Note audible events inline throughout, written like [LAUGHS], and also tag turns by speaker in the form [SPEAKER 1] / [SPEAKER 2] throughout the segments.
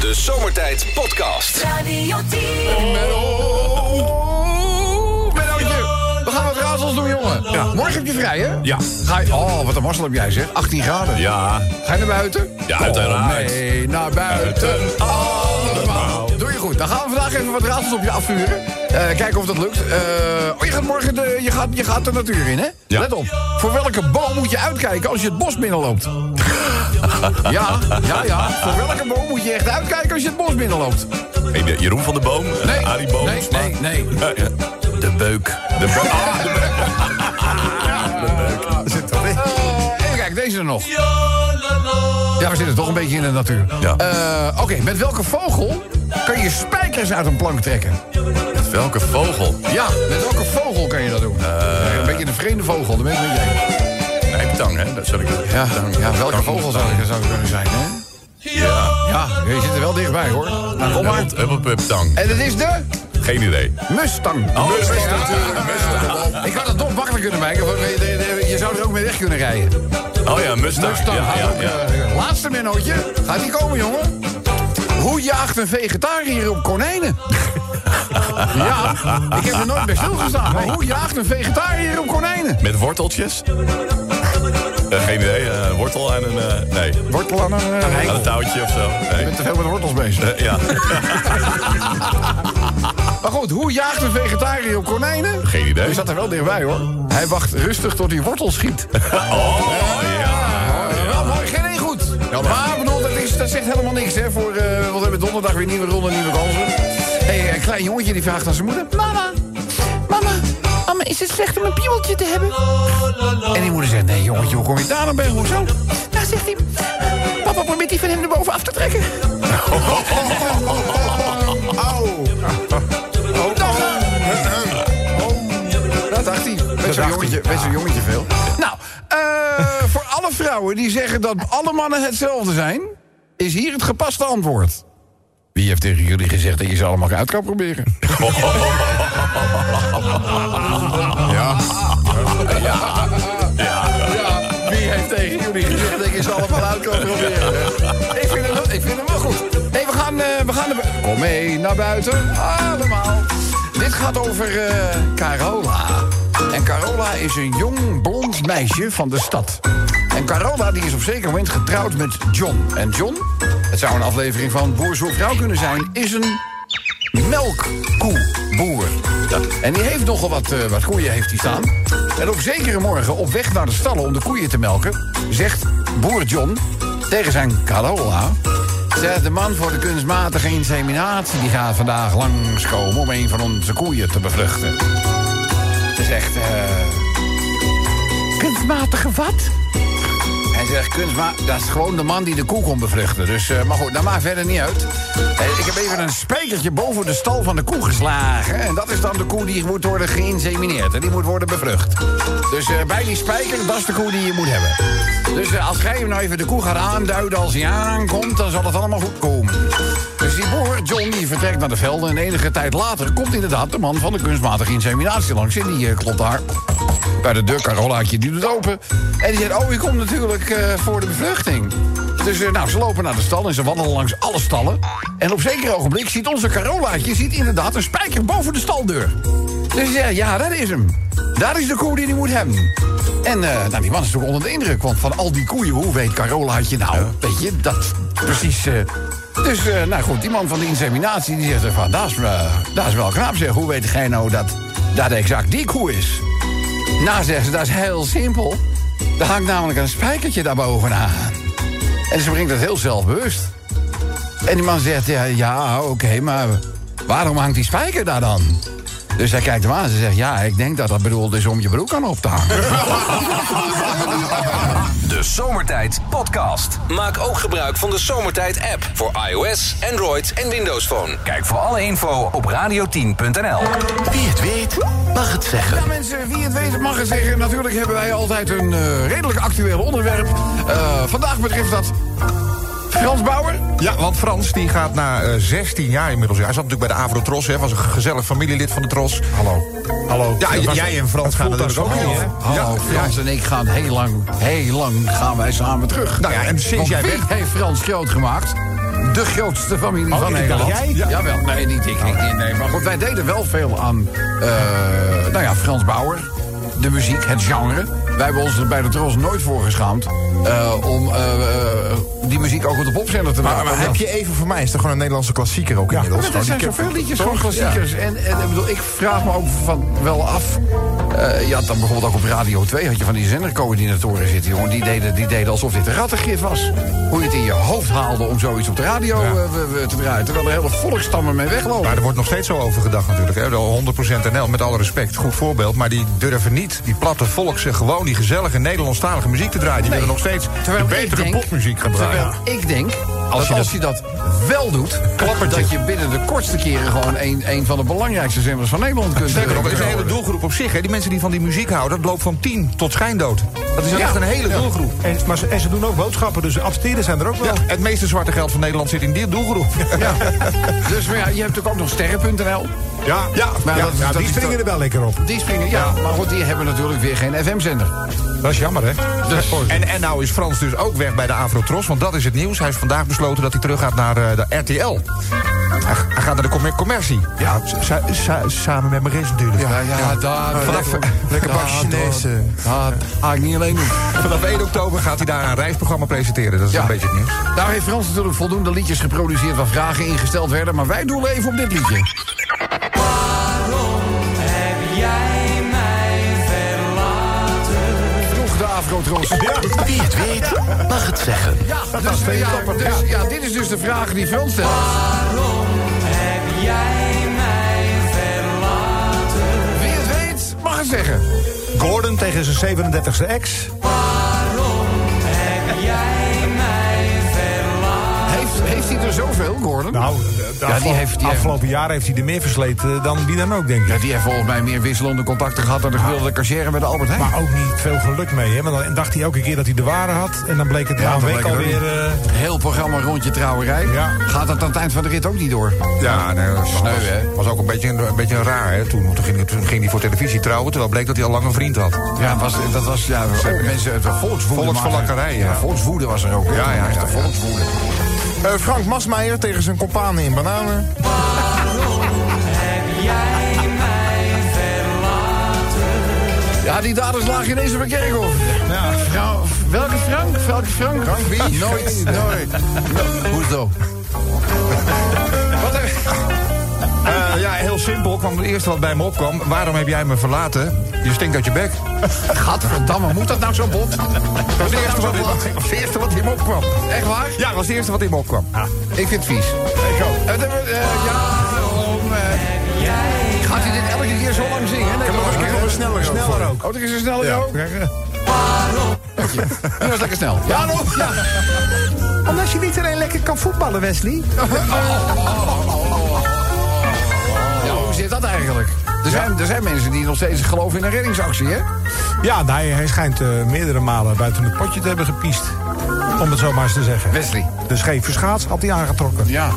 [SPEAKER 1] de Zomertijd Podcast.
[SPEAKER 2] Radio 10.
[SPEAKER 3] Mennootje, we gaan wat raadsels doen, jongen. Morgen heb je vrij, hè?
[SPEAKER 4] Ja.
[SPEAKER 3] Ga je, oh, wat een mazzel heb jij, zeg. 18 graden.
[SPEAKER 4] Ja,
[SPEAKER 3] Ga je naar buiten?
[SPEAKER 4] Ja, uiteraard.
[SPEAKER 3] Oh, nee, naar buiten.
[SPEAKER 4] Buiten.
[SPEAKER 3] Allemaal. Doe je goed. Dan gaan we vandaag even wat raadsels op je afvuren. Eh, kijken of dat lukt. Eh, oh, je gaat morgen de, je gaat, je gaat de natuur in, hè?
[SPEAKER 4] Ja.
[SPEAKER 3] Let op. Voor welke boom moet je uitkijken als je het bos binnenloopt?
[SPEAKER 4] [LAUGHS]
[SPEAKER 3] ja, ja, ja. Voor welke boom moet je echt uitkijken als je het bos binnenloopt?
[SPEAKER 4] Hey, de- Jeroen van de Boom, eh,
[SPEAKER 3] Nee,
[SPEAKER 4] Arie Boom.
[SPEAKER 3] nee, nee, nee.
[SPEAKER 4] De beuk. eh. De beuk. Ah, de beuk.
[SPEAKER 3] Zit er even kijken, deze er nog. Ja, we zitten toch een beetje in de natuur.
[SPEAKER 4] Ja.
[SPEAKER 3] Eh, Oké, met welke vogel kan je spijkers uit een plank trekken?
[SPEAKER 4] Met welke vogel?
[SPEAKER 3] Ja, Eh. met welke vogel kan je dat doen? een beetje een vreemde vogel, dat weet ik niet.
[SPEAKER 4] Nijptang, hè? Dat zal ik doen.
[SPEAKER 3] Ja, ja, welke vogel zou het zou het kunnen zijn, hè?
[SPEAKER 4] Ja.
[SPEAKER 3] Ja, je zit er wel dichtbij, hoor. Nou, kom maar.
[SPEAKER 4] Huppelpuptang.
[SPEAKER 3] En het is de
[SPEAKER 4] Geen idee.
[SPEAKER 3] Mustang.
[SPEAKER 4] Oh, Mustang.
[SPEAKER 3] Ja. Ik had het nog makkelijk kunnen maken, want je- je- je zou er ook mee weg kunnen rijden.
[SPEAKER 4] Oh ja, Mustang.
[SPEAKER 3] Mustang.
[SPEAKER 4] ja,
[SPEAKER 3] Dus gaat
[SPEAKER 4] ja,
[SPEAKER 3] ook,
[SPEAKER 4] ja.
[SPEAKER 3] eh, laatste minnootje. Gaat die komen, jongen? Hoe jaagt een vegetariër op
[SPEAKER 4] [LAUGHS]
[SPEAKER 3] konijnen? ja, ik heb er nooit bij stilgestaan. Maar hoe jaagt een vegetariër op konijnen?
[SPEAKER 4] Met worteltjes? Eh, geen idee. eh, een wortel aan een... eh, nee.
[SPEAKER 3] Wortel aan een... eh,
[SPEAKER 4] Aan een touwtje of zo.
[SPEAKER 3] Ik
[SPEAKER 4] Nee.
[SPEAKER 3] ben te veel met wortels bezig.
[SPEAKER 4] Eh, ja.
[SPEAKER 3] Maar goed, hoe jaagt een vegetariër op konijnen?
[SPEAKER 4] Geen idee.
[SPEAKER 3] Hij zat er wel dichtbij, hoor. Hij wacht rustig tot hij wortel schiet.
[SPEAKER 4] Oh, ja.
[SPEAKER 3] Wel mooi, geen één goed. maar ik bedoel, dat, is, dat zegt helemaal niks, hè. Voor, eh, want we hebben donderdag weer nieuwe ronde, nieuwe kansen. hey, eh, een klein jongetje die vraagt aan zijn moeder... Mama, mama, mama, is het slecht om een piebeltje te hebben? En die moeder zegt, nee jongetje, hoe kom je daar dan bij? Hoezo? Nou, zegt hij, papa probeert die van hem erboven af te [LAUGHS] trekken. Dat dacht hij. Weet zo'n jongetje, weet zo'n jongetje veel. Nou, eh, voor alle vrouwen die zeggen dat alle mannen hetzelfde zijn... is hier het gepaste antwoord. Wie heeft tegen jullie gezegd dat je ze allemaal uit kan proberen? ja. Ja, wie heeft tegen jullie gezegd dat je ze allemaal uit [LAUGHS] kan proberen? Ik vind hem, wel- ik vind hem wel goed. hey, we gaan, eh, we gaan naar bu- Kom mee naar buiten, allemaal. Dit gaat over eh, Carola. En Carola is een jong, blond meisje van de stad. En Carola die is op zeker moment getrouwd met John. En John, het zou een aflevering van Boer zoekt Vrouw kunnen zijn... is een melkkoeboer. En die heeft nogal wat, eh, wat koeien heeft hij staan. En op zekere morgen, op weg naar de stallen om de koeien te melken... zegt boer John tegen zijn Carola... Zeg, de man voor de kunstmatige inseminatie... die gaat vandaag langskomen om een van onze koeien te bevruchten. Ze zegt... eh, kunstmatige wat? Hij zegt, kunstma, dat is gewoon de man die de koe kon bevruchten. Dus, eh, maar goed, dat maakt verder niet uit. Eh, ik heb even een spijkertje boven de stal van de koe geslagen. En dat is dan de koe die moet worden geïnsemineerd. En die moet worden bevrucht. Dus eh, bij die spijker, dat is de koe die je moet hebben. Dus eh, als jij hem nou even de koe gaat aanduiden als hij aankomt... dan zal het allemaal goed komen. Dus die boer, John, die vertrekt naar de velden... en enige tijd later komt inderdaad de man van de kunstmatige inseminatie langs. En die eh, klopt daar bij de deur, Carolaatje, die doet open. En die zegt, oh, je komt natuurlijk eh, voor de bevruchting. Dus eh, nou, ze lopen naar de stal en ze wandelen langs alle stallen. En op zeker ogenblik ziet onze Carolaatje ziet inderdaad een spijker boven de staldeur. Dus ze zegt, ja, dat is hem. Daar is de koe die hij moet hebben. En eh, nou, die man is natuurlijk onder de indruk, want van al die koeien, hoe weet Carolaatje nou? Weet je, dat precies... eh, dus, eh, nou goed, die man van de inseminatie, die zegt van... Dat is, eh, dat is wel knap, zeg. Hoe weet jij nou dat dat exact die koe is? Nou, zegt ze, dat is heel simpel. Er hangt namelijk een spijkertje daar bovenaan. En ze brengt dat heel zelfbewust. En die man zegt, ja, ja oké, maar waarom hangt die spijker daar dan? Dus hij kijkt hem aan en ze zegt, ja, ik denk dat dat bedoeld is om je broek aan op te hangen.
[SPEAKER 1] De Zomertijd Podcast. Maak ook gebruik van de Zomertijd app voor iOS, Android en Windows Phone. Kijk voor alle info op radio10.nl.
[SPEAKER 5] Wie het weet, mag het zeggen.
[SPEAKER 3] Ja, mensen, wie het weet mag het zeggen. Natuurlijk hebben wij altijd een eh, redelijk actueel onderwerp. Eh, vandaag betreft dat Frans Bauer.
[SPEAKER 6] Ja, want Frans die gaat na eh, 16 jaar inmiddels. Hij zat natuurlijk bij de Avro Tros, hè, was een gezellig familielid van de Tros.
[SPEAKER 3] Hallo. Hallo.
[SPEAKER 6] Ja, j- jij en Frans gaan natuurlijk ook mee, hè?
[SPEAKER 3] Hallo,
[SPEAKER 6] Ja,
[SPEAKER 3] Oh, Frans en ik gaan heel lang, heel lang gaan wij samen terug.
[SPEAKER 6] Nou ja, en sinds
[SPEAKER 3] Want
[SPEAKER 6] jij
[SPEAKER 3] wie
[SPEAKER 6] weg- Oh,
[SPEAKER 3] heeft Frans groot gemaakt? de grootste familie van
[SPEAKER 2] ik dacht
[SPEAKER 3] Nederland.
[SPEAKER 2] jij.
[SPEAKER 3] Ja. Jawel, nee, niet ik. ik niet, nee. Maar goed, wij deden wel veel aan eh, nou ja, Frans Bauer. De muziek, het genre. Wij hebben ons er bij de Tros nooit voor geschaamd... eh, om eh, eh, die muziek ook op de popzender te maken.
[SPEAKER 6] Maar, maar heb je even voor mij? Is er gewoon een Nederlandse klassieker ook
[SPEAKER 3] Ja,
[SPEAKER 6] inmiddels?
[SPEAKER 3] maar er zijn
[SPEAKER 6] Gewoon die
[SPEAKER 3] zoveel
[SPEAKER 6] ken-
[SPEAKER 3] liedjes,
[SPEAKER 6] toch?
[SPEAKER 3] gewoon klassiekers. En, en ik bedoel, ik vraag me ook van wel af. eh je had dan bijvoorbeeld ook op Radio 2 had je van die zendercoördinatoren zitten, jongen. Die deden, die deden alsof dit een rattengif was. Hoe je het in je hoofd haalde om zoiets op de radio
[SPEAKER 6] Ja.
[SPEAKER 3] eh, we- we te draaien. Terwijl er hele volkstammen mee weglopen.
[SPEAKER 6] Maar er wordt nog steeds zo over gedacht natuurlijk. Hè. De 100% NL, met alle respect, goed voorbeeld. Maar die durven niet, die platte volkse, gewoon die gezellige Nederlandstalige muziek te draaien. Die
[SPEAKER 3] Nee.
[SPEAKER 6] willen nog steeds de
[SPEAKER 3] Terwijl ik
[SPEAKER 6] betere
[SPEAKER 3] denk-
[SPEAKER 6] popmuziek gaan draaien.
[SPEAKER 3] Terwijl ik denk, als
[SPEAKER 6] je
[SPEAKER 3] dat als
[SPEAKER 6] dat-
[SPEAKER 3] je dat wel doet...
[SPEAKER 6] Klappertje.
[SPEAKER 3] dat je binnen de kortste keren gewoon een, een van de belangrijkste zenders van Nederland kunt
[SPEAKER 6] Sterker nog, er is een
[SPEAKER 3] kunt
[SPEAKER 6] hele
[SPEAKER 3] worden.
[SPEAKER 6] doelgroep op zich. Hè. Die mensen die van die muziek houden, dat loopt van 10 tot schijndood. Dat is
[SPEAKER 3] Ja.
[SPEAKER 6] echt een hele doelgroep.
[SPEAKER 2] En, maar ze, en ze doen ook boodschappen, dus adverteren zijn er ook wel.
[SPEAKER 6] Ja, het meeste zwarte geld van Nederland zit in die doelgroep. Ja,
[SPEAKER 3] Dus maar ja, je hebt natuurlijk ook nog sterren.nl.
[SPEAKER 2] Ja, ja,
[SPEAKER 3] maar dat is- dat
[SPEAKER 2] die
[SPEAKER 3] is
[SPEAKER 2] springen
[SPEAKER 3] toch-
[SPEAKER 2] er wel lekker op.
[SPEAKER 3] Die springen, ja. Maar goed, die hebben natuurlijk weer geen FM-zender.
[SPEAKER 6] dat is jammer, hè?
[SPEAKER 3] Dus-
[SPEAKER 6] En, en nou is Frans dus ook weg bij de Avrotros, want dat is het nieuws. Hij is vandaag besloten dat hij terug gaat naar eh, de RTL. Hij, hij gaat naar de commer- commercie.
[SPEAKER 5] Ja, sa- sa- samen met mijn rest natuurlijk.
[SPEAKER 3] Ja, ja, daar.
[SPEAKER 6] Vanaf-
[SPEAKER 3] lekker-
[SPEAKER 5] lekker
[SPEAKER 3] daar,
[SPEAKER 5] bakje Chinese.
[SPEAKER 3] daar. Dat ga ik niet alleen doen.
[SPEAKER 6] Vanaf 1 oktober gaat hij daar een reisprogramma presenteren. Dat is
[SPEAKER 3] Ja.
[SPEAKER 6] een beetje het nieuws.
[SPEAKER 3] Nou heeft Frans natuurlijk voldoende liedjes geproduceerd waar vragen ingesteld werden. Maar wij doelen even op dit liedje. Vroeg de Afro-tros.
[SPEAKER 5] Wie het weet, mag het zeggen.
[SPEAKER 3] Ja, dus, ja, dus, ja, dit is dus de vraag die Frans stelt. Wie het weet, mag het zeggen.
[SPEAKER 2] Gordon tegen zijn 37e ex.
[SPEAKER 3] Heeft, heeft hij er zoveel, Gordon?
[SPEAKER 2] Nou, de,
[SPEAKER 3] Ja,
[SPEAKER 2] de
[SPEAKER 3] die
[SPEAKER 2] afgelopen-
[SPEAKER 3] heeft- die-
[SPEAKER 2] afgelopen jaar heeft hij er meer versleten dan wie dan ook, denk ik.
[SPEAKER 3] Ja, die heeft volgens mij meer wisselende contacten gehad dan de gemiddelde cashier bij de Albert Heijn.
[SPEAKER 2] Maar ook niet veel geluk mee, hè? Want dan dacht hij elke keer dat hij de ware had. En dan bleek het na een
[SPEAKER 3] dan
[SPEAKER 2] week
[SPEAKER 3] bleek het
[SPEAKER 2] alweer...
[SPEAKER 3] ook
[SPEAKER 2] eh,
[SPEAKER 3] Heel programma rondje trouwerij.
[SPEAKER 2] Ja.
[SPEAKER 3] Gaat dat aan het eind van de rit ook niet door?
[SPEAKER 2] eh,
[SPEAKER 6] Ja, nee, dat was,
[SPEAKER 3] Sneu, hè?
[SPEAKER 6] was ook een beetje, een, een beetje een raar hè, toen. Want Toen ging, toen ging hij voor televisie trouwen, terwijl bleek dat hij al lang een vriend had.
[SPEAKER 3] Ja, was, dat was ja, oh, mensen, het was volkswoede.
[SPEAKER 6] Volksverlakkerij,
[SPEAKER 3] maar-
[SPEAKER 6] ja.
[SPEAKER 3] Volkswoede was er ook. hè?
[SPEAKER 6] Ja, ja,
[SPEAKER 3] Echt
[SPEAKER 6] ja,
[SPEAKER 3] de
[SPEAKER 6] ja.
[SPEAKER 3] Volkswoede.
[SPEAKER 6] Eh, Frank Masmeijer tegen zijn kompanen in bananen.
[SPEAKER 3] Ja, die daders lagen ineens op een kerkhof. Ja. welke Frank? Welke Frank? Frank wie? Nooit, nooit. No- Hoezo? Wat er...
[SPEAKER 6] Eh, ja, heel simpel. kwam het eerste wat bij me opkwam. Waarom heb jij me verlaten? Je stinkt uit je bek.
[SPEAKER 3] Gadverdamme, moet dat nou zo bot?
[SPEAKER 6] Dat was het eerste wat,
[SPEAKER 2] [LAUGHS]
[SPEAKER 6] in- was het eerste wat in me opkwam.
[SPEAKER 3] Echt waar?
[SPEAKER 6] Ja, dat was het eerste wat in me opkwam.
[SPEAKER 2] Ah,
[SPEAKER 3] Ik vind het vies. Eh, Ik ook. ja, daarom, eh, Gaat hij dit elke keer zo lang zingen? Nee,
[SPEAKER 2] nog een keer, nog een sneller ook voor.
[SPEAKER 3] Oh, er is een sneller ook?
[SPEAKER 2] ja, ja.
[SPEAKER 3] Die was lekker snel. Ja, daarom. Ja.
[SPEAKER 2] Omdat je niet alleen lekker kan voetballen, Wesley.
[SPEAKER 3] Ja, hoe zit dat eigenlijk? Er zijn, er zijn mensen die nog steeds geloven in een reddingsactie, hè?
[SPEAKER 2] Ja, nou, hij, hij schijnt eh, meerdere malen buiten het potje te hebben gepiest. Om het zo maar eens te zeggen.
[SPEAKER 3] Wesley.
[SPEAKER 2] De scheve schaats had hij aangetrokken.
[SPEAKER 3] Ja.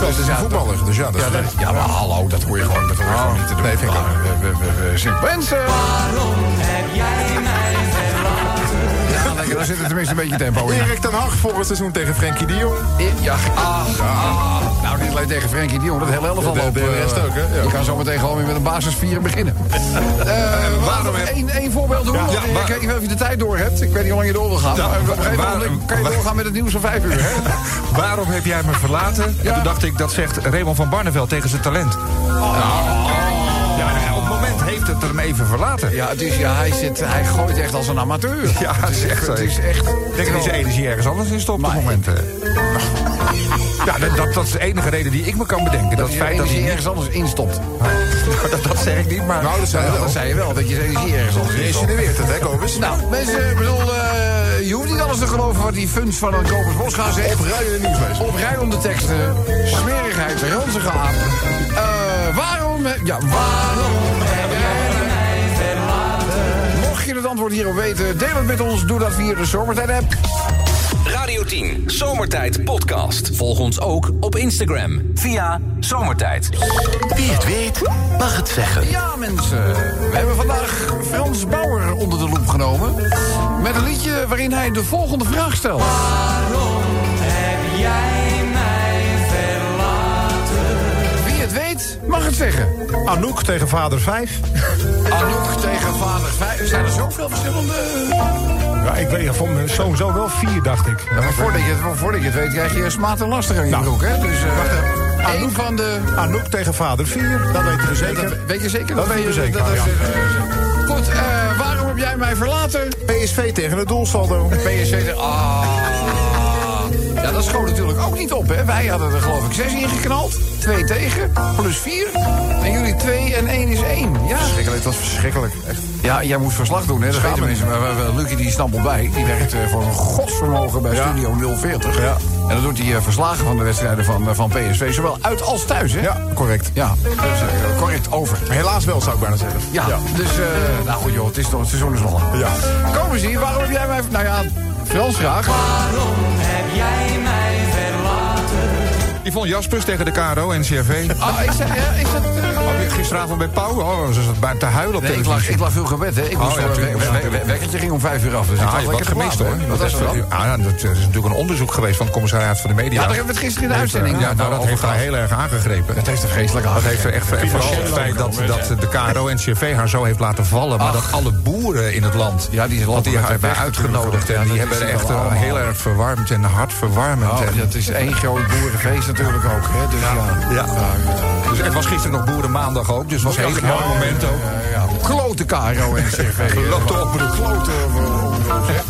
[SPEAKER 3] Dat is een voetballer, dus ja. Dat ja, dat- ja, maar hallo, dat hoor je gewoon, dat hoor je gewoon niet te doen. Nee, vind ik We, we, we, we zijn mensen. Ja, Ah, lekker, daar zit er tenminste een beetje tempo in.
[SPEAKER 6] ten Hag volgend seizoen tegen Frenkie de Jong.
[SPEAKER 3] Ja, ah, ah. Nou, dit leidt tegen Frenkie de Jong. Dat hele elftal
[SPEAKER 6] de-
[SPEAKER 3] lopen.
[SPEAKER 6] de rest
[SPEAKER 3] eh,
[SPEAKER 6] ook, hè? Ja. Eh,
[SPEAKER 3] Je kan zometeen gewoon weer met een basis 4
[SPEAKER 6] [LAUGHS]
[SPEAKER 3] beginnen. Waarom Eén één voorbeeld doen. want,
[SPEAKER 6] ja,
[SPEAKER 3] eh,
[SPEAKER 6] waar-
[SPEAKER 3] ik weet niet of je de tijd door hebt. Ik weet niet hoe lang je door wil gaan.
[SPEAKER 6] Ja,
[SPEAKER 3] maar op een gegeven
[SPEAKER 6] waar-
[SPEAKER 3] moment kan je
[SPEAKER 6] waar-
[SPEAKER 3] doorgaan met het nieuws van 5 uur, hè?
[SPEAKER 6] [LAUGHS] Waarom heb jij me verlaten?
[SPEAKER 3] Ja.
[SPEAKER 6] En toen dacht ik, dat zegt Raymond van Barneveld tegen zijn talent. Oh. Ja, nou ja, op het moment heeft het hem even verlaten.
[SPEAKER 3] Ja, het is, ja hij, zit, hij gooit echt als een amateur.
[SPEAKER 6] Ja, het is echt zo.
[SPEAKER 3] Het is echt...
[SPEAKER 6] Ik denk dat hij zijn energie ergens anders in stopt op het moment. eh. [LAUGHS] Ja, dat, dat, dat is de enige reden die ik me kan bedenken. Dat,
[SPEAKER 3] Dat je
[SPEAKER 6] feit dat hij
[SPEAKER 3] energie
[SPEAKER 6] niet...
[SPEAKER 3] ergens anders instopt.
[SPEAKER 6] [LAUGHS] Dat, dat zeg ik niet, maar...
[SPEAKER 3] Nou, dat zei,
[SPEAKER 6] Ja,
[SPEAKER 3] je wel. dat zei je wel, dat je zijn energie ergens anders instopt.
[SPEAKER 6] het, hè, Kobus?
[SPEAKER 3] Nou, mensen, ik bedoel, eh, je hoeft niet alles te geloven wat die funs van een Kobus Bos gaan zeggen. Opruiende nieuwslezen. Opruiende teksten, smerigheid, ranzige aap. Eh, waarom, heb- ja, waarom heb jij mij verlaten? Mocht je het antwoord hierop weten, deel het met ons. Doe dat via de Zomertijd-app.
[SPEAKER 1] Radio 10, Zomertijd Podcast. Volg ons ook op Instagram via Zomertijd.
[SPEAKER 5] Wie het weet, mag het zeggen.
[SPEAKER 3] Ja, mensen. We hebben vandaag Frans Bauer onder de loep genomen. Met een liedje waarin hij de volgende vraag stelt.
[SPEAKER 7] Waarom heb jij mij
[SPEAKER 3] zeggen.
[SPEAKER 2] Anouk tegen vader 5.
[SPEAKER 3] Anouk tegen vader 5. Zijn er zoveel verschillende...
[SPEAKER 2] Ja, Nou, ik weet ja, voor mijn zoon zo wel 4, dacht ik.
[SPEAKER 3] Ja, maar voordat je, het- voordat je het weet krijg je smaten lastig aan je
[SPEAKER 2] Nou,
[SPEAKER 3] broek, hè? Dus, eh,
[SPEAKER 2] wacht even.
[SPEAKER 3] één
[SPEAKER 2] Anouk-
[SPEAKER 3] van de...
[SPEAKER 2] Anouk tegen vader 4, dat weten we
[SPEAKER 3] Dat,
[SPEAKER 2] zeker.
[SPEAKER 3] weet je zeker?
[SPEAKER 2] Dat
[SPEAKER 3] weet
[SPEAKER 2] weten we zeker,
[SPEAKER 3] dat-
[SPEAKER 2] ja.
[SPEAKER 3] dat- Goed, eh, waarom heb jij mij verlaten?
[SPEAKER 2] PSV tegen het doelsaldo.
[SPEAKER 3] PSV zegt, ah. Ja, dat schoot natuurlijk ook niet op, hè? Wij hadden er geloof ik zes ingeknald. Twee tegen, plus vier. En jullie twee en één is één. Ja,
[SPEAKER 6] Het was verschrikkelijk. Echt.
[SPEAKER 3] ja jij moet verslag doen, hè? Dat weten mensen. Maar, maar, maar Lucky die snapt bij. Die werkt eh, voor een godsvermogen bij Studio 040. Ja. En dan doet hij eh, verslagen van de wedstrijden van, eh, van PSV. Zowel uit als thuis, hè?
[SPEAKER 6] Ja, correct.
[SPEAKER 3] Ja, dat is, eh, correct, over.
[SPEAKER 6] Helaas wel, zou ik bijna zeggen.
[SPEAKER 3] Ja, dus, eh, nou goed joh, het, is nog, het seizoen is nog lang.
[SPEAKER 6] Ja.
[SPEAKER 3] Kom eens hier, waarom heb jij mij... Nou ja, Frans graag.
[SPEAKER 6] Yvonne Jaspers tegen de KRO en CRV.
[SPEAKER 3] Ah, is dat... Ja, is dat eh,
[SPEAKER 6] Gisteravond bij Pauw, oh, ze zat bij te huilen op
[SPEAKER 3] Nee, ik
[SPEAKER 6] televisie. Oh,
[SPEAKER 3] lag, ik lag vroeg in bed, hè. Ik moest
[SPEAKER 6] ja,
[SPEAKER 3] voor- eh,
[SPEAKER 6] tuurlijk,
[SPEAKER 3] we- we-
[SPEAKER 6] natuurlijk.
[SPEAKER 3] we- wekkertje ging om vijf uur af, dus ik
[SPEAKER 6] Ja,
[SPEAKER 3] had
[SPEAKER 6] je
[SPEAKER 3] lekker
[SPEAKER 6] wordt gemist
[SPEAKER 3] geslapen,
[SPEAKER 6] hoor.
[SPEAKER 3] Wat was er dan?
[SPEAKER 6] Ah, nou, dat eh, is natuurlijk een onderzoek geweest van het commissariaat van de media.
[SPEAKER 3] Ja, daar hebben we het gisteren in de uitzending. eh,
[SPEAKER 6] Ja, nou, dat heeft haar heel erg aangegrepen.
[SPEAKER 3] Het heeft een vreselijke
[SPEAKER 6] Dat heeft er echt en vooral het feit dat, dat de KRO en CRV haar zo heeft laten vallen. Maar dat alle boeren in het land.
[SPEAKER 3] Ja, die
[SPEAKER 6] want
[SPEAKER 3] lopen
[SPEAKER 6] die
[SPEAKER 3] met de
[SPEAKER 6] hebben
[SPEAKER 3] weg natuurlijk.
[SPEAKER 6] uitgenodigd.
[SPEAKER 3] Ja,
[SPEAKER 6] En die
[SPEAKER 3] dat
[SPEAKER 6] hebben
[SPEAKER 3] is
[SPEAKER 6] er echt
[SPEAKER 3] wel
[SPEAKER 6] eh,
[SPEAKER 3] allemaal.
[SPEAKER 6] heel erg verwarmd en hartverwarmend.
[SPEAKER 3] Oh,
[SPEAKER 6] en-
[SPEAKER 3] dat is één groot boerenfeest natuurlijk ook, hè. Dus ja.
[SPEAKER 6] ja. Dus het was gisteren nog Boerenmaandag ook. Dus het was een heel mooi moment ook.
[SPEAKER 3] Ja, ja. Klote KRO en
[SPEAKER 6] [LAUGHS]
[SPEAKER 3] CV.
[SPEAKER 6] Klote oproep.
[SPEAKER 3] Klote